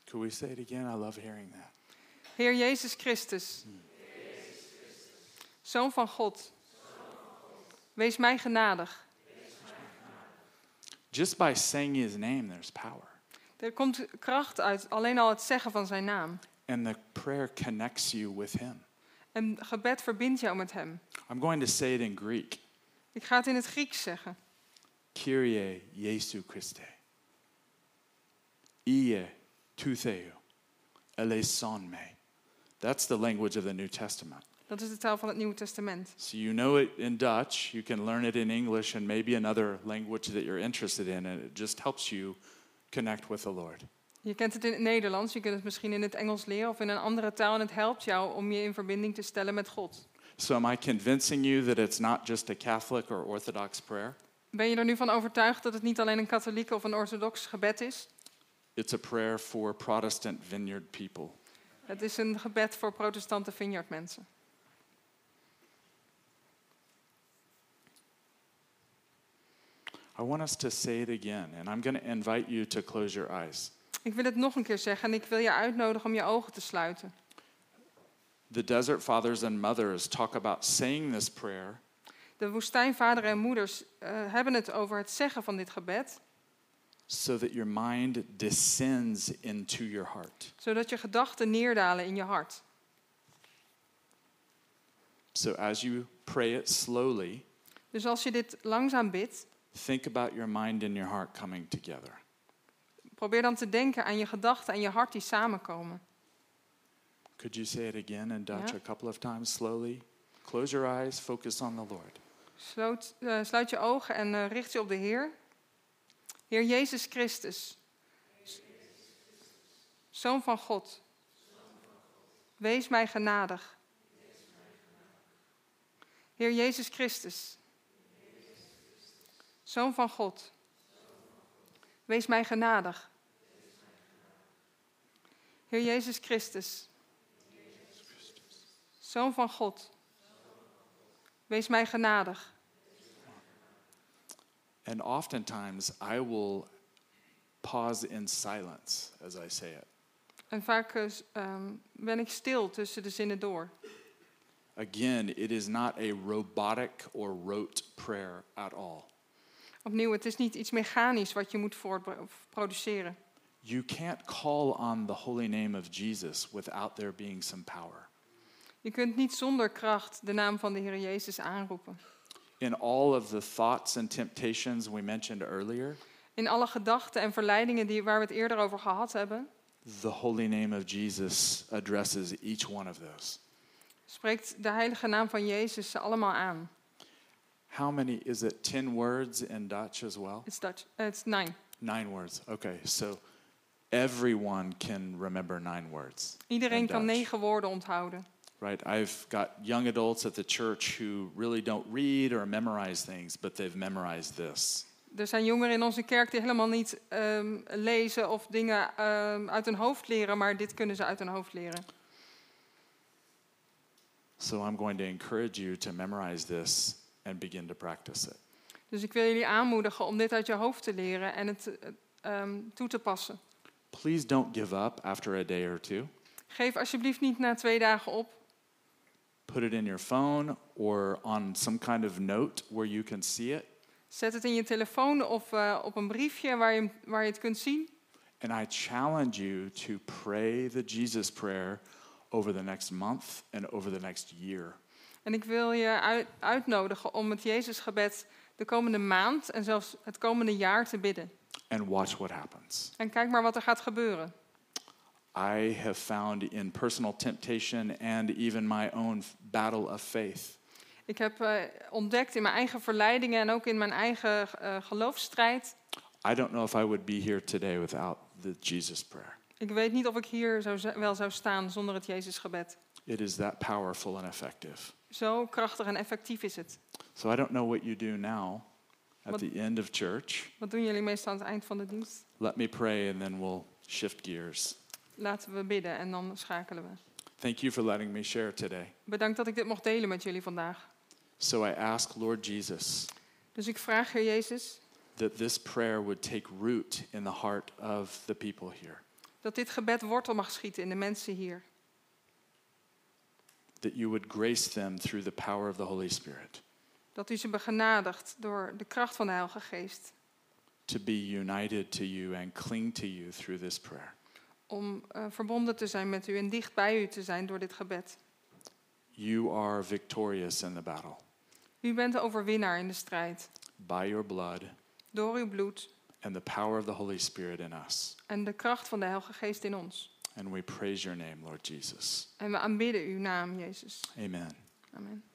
Speaker 1: Could we say it again? I love hearing that.
Speaker 2: Heer Jezus Christus, Zoon van God, wees mij genadig.
Speaker 1: Just by saying his name, there's power.
Speaker 2: Er komt kracht uit alleen al het zeggen van zijn naam.
Speaker 1: And the prayer connects you with him.
Speaker 2: En gebed verbindt jou met hem.
Speaker 1: I'm going to say it in Greek.
Speaker 2: Ik ga het in het Grieks zeggen.
Speaker 1: Kyrie Jesu Christe. Ie tu Theu, Eleison me. That's the language of the New Testament.
Speaker 2: Dat is de taal van het Nieuwe Testament.
Speaker 1: So you know it in Dutch, you can learn it in English and maybe another language that you're interested in, and it just helps you connect with the Lord.
Speaker 2: Je kent het in het Nederlands, je kunt het misschien in het Engels leren of in een andere taal en het helpt jou om je in verbinding te stellen met God.
Speaker 1: So am I convincing you that it's not just a Catholic or Orthodox prayer?
Speaker 2: Ben je er nu van overtuigd dat het niet alleen een katholieke of een orthodox gebed is?
Speaker 1: It's a prayer for Protestant vineyard people.
Speaker 2: Het is een gebed voor protestante vineyardmensen.
Speaker 1: I want us to say it again, and I'm going to invite you to close your eyes.
Speaker 2: Ik wil het nog een keer zeggen en ik wil je uitnodigen om je ogen te sluiten.
Speaker 1: The desert fathers and mothers talk about saying this prayer
Speaker 2: De woestijnvaderen en moeders eh, hebben het over het zeggen van dit gebed,
Speaker 1: so that your mind descends into your heart.
Speaker 2: zodat je gedachten neerdalen in je hart.
Speaker 1: So as you pray it slowly,
Speaker 2: Dus als je dit langzaam bidt,
Speaker 1: think about your mind and your heart coming together.
Speaker 2: probeer dan te denken aan je gedachten en je hart die samenkomen.
Speaker 1: Could you say it again in Dutch
Speaker 2: Yeah.
Speaker 1: a couple of times slowly? Close your eyes, focus on the Lord.
Speaker 2: Sloot, eh, sluit je ogen en eh, richt je op de Heer. Heer Jezus Christus, Zoon van God, wees mij genadig. Heer Jezus Christus, Zoon van God, wees mij genadig. Heer Jezus Christus, Zoon van God, wees mij genadig.
Speaker 1: And oftentimes I will pause in silence as I say it.
Speaker 2: En vaak eh, s- ehm, ben ik stil tussen de zinnen door.
Speaker 1: Again, it is not a robotic or rote prayer at all.
Speaker 2: Opnieuw, het is niet iets mechanisch wat je moet voortbr- of produceren.
Speaker 1: You can't call on the holy name of Jesus without there being some power.
Speaker 2: Je kunt niet zonder kracht de naam van de Heer Jezus aanroepen.
Speaker 1: In all of the thoughts and temptations we mentioned earlier,
Speaker 2: In alle gedachten en verleidingen die, waar we het eerder over gehad hebben,
Speaker 1: the holy name of Jesus addresses each one of those.
Speaker 2: spreekt de heilige naam van Jezus ze allemaal aan.
Speaker 1: How many is it? 10 words in Dutch as well?
Speaker 2: Het is Dutch. eh, Het is nine.
Speaker 1: Nine words. Okay, so everyone can remember nine words.
Speaker 2: Iedereen
Speaker 1: In
Speaker 2: kan
Speaker 1: Dutch.
Speaker 2: negen woorden onthouden.
Speaker 1: Right? I've got young adults at the church who really don't read or memorize things, but they've memorized this.
Speaker 2: Er zijn jongeren in onze kerk die helemaal niet ehm, lezen of dingen ehm, uit hun hoofd leren, maar dit kunnen ze uit hun hoofd leren.
Speaker 1: So I'm going to encourage you to memorize this and begin to practice it.
Speaker 2: Dus ik wil jullie aanmoedigen om dit uit je hoofd te leren en het eh, ehm, toe te passen.
Speaker 1: Please don't give up after a day or two.
Speaker 2: Geef alsjeblieft niet na twee dagen op.
Speaker 1: Put it in your phone or on some kind of note where you can see it.
Speaker 2: Zet het in je telefoon of eh, op een briefje waar je, hem- waar je het kunt zien.
Speaker 1: And I challenge you to pray the Jesus prayer over the next month and over the next year.
Speaker 2: En ik wil je uit- uitnodigen om het Jezusgebed de komende maand en zelfs het komende jaar te bidden.
Speaker 1: and watch what happens.
Speaker 2: En kijk maar wat er gaat gebeuren.
Speaker 1: I have found in personal temptation and even my own f- battle of faith
Speaker 2: Ik heb eh, ontdekt in mijn eigen verleidingen en ook in mijn eigen eh, geloofsstrijd.
Speaker 1: I don't know if I would be here today without the Jesus prayer.
Speaker 2: Ik weet niet of ik hier zou, z- wel zou staan zonder het Jezusgebed.
Speaker 1: It is that powerful and effective.
Speaker 2: Zo krachtig en effectief is het.
Speaker 1: So I don't know what you do now at
Speaker 2: Wat-
Speaker 1: the end of church.
Speaker 2: Wat doen jullie meestal aan het eind van de dienst?
Speaker 1: Let me pray and then we'll shift gears.
Speaker 2: Laten we bidden en dan schakelen we.
Speaker 1: Thank you for letting me share today.
Speaker 2: Bedankt dat ik dit mocht delen met jullie vandaag.
Speaker 1: So I ask, Lord Jesus,
Speaker 2: Dus ik vraag, Heer Jezus,
Speaker 1: that this prayer would take root in the heart of the people here,
Speaker 2: dat dit gebed wortel mag schieten in de mensen hier.
Speaker 1: that you would grace them through the power of the Holy Spirit
Speaker 2: Dat u ze begenadigt door de kracht van de Heilige Geest.
Speaker 1: to be united to you and cling to you through this prayer.
Speaker 2: Om eh, verbonden te zijn met u en dicht bij u te zijn door dit gebed.
Speaker 1: You are victorious in the battle
Speaker 2: U bent de overwinnaar in de strijd.
Speaker 1: by your blood
Speaker 2: Door uw bloed
Speaker 1: and the power of the Holy Spirit in us.
Speaker 2: en de kracht van de Heilige Geest in ons.
Speaker 1: And we praise your name, Lord Jesus.
Speaker 2: En we aanbidden uw naam, Jezus.
Speaker 1: Amen.
Speaker 2: Amen.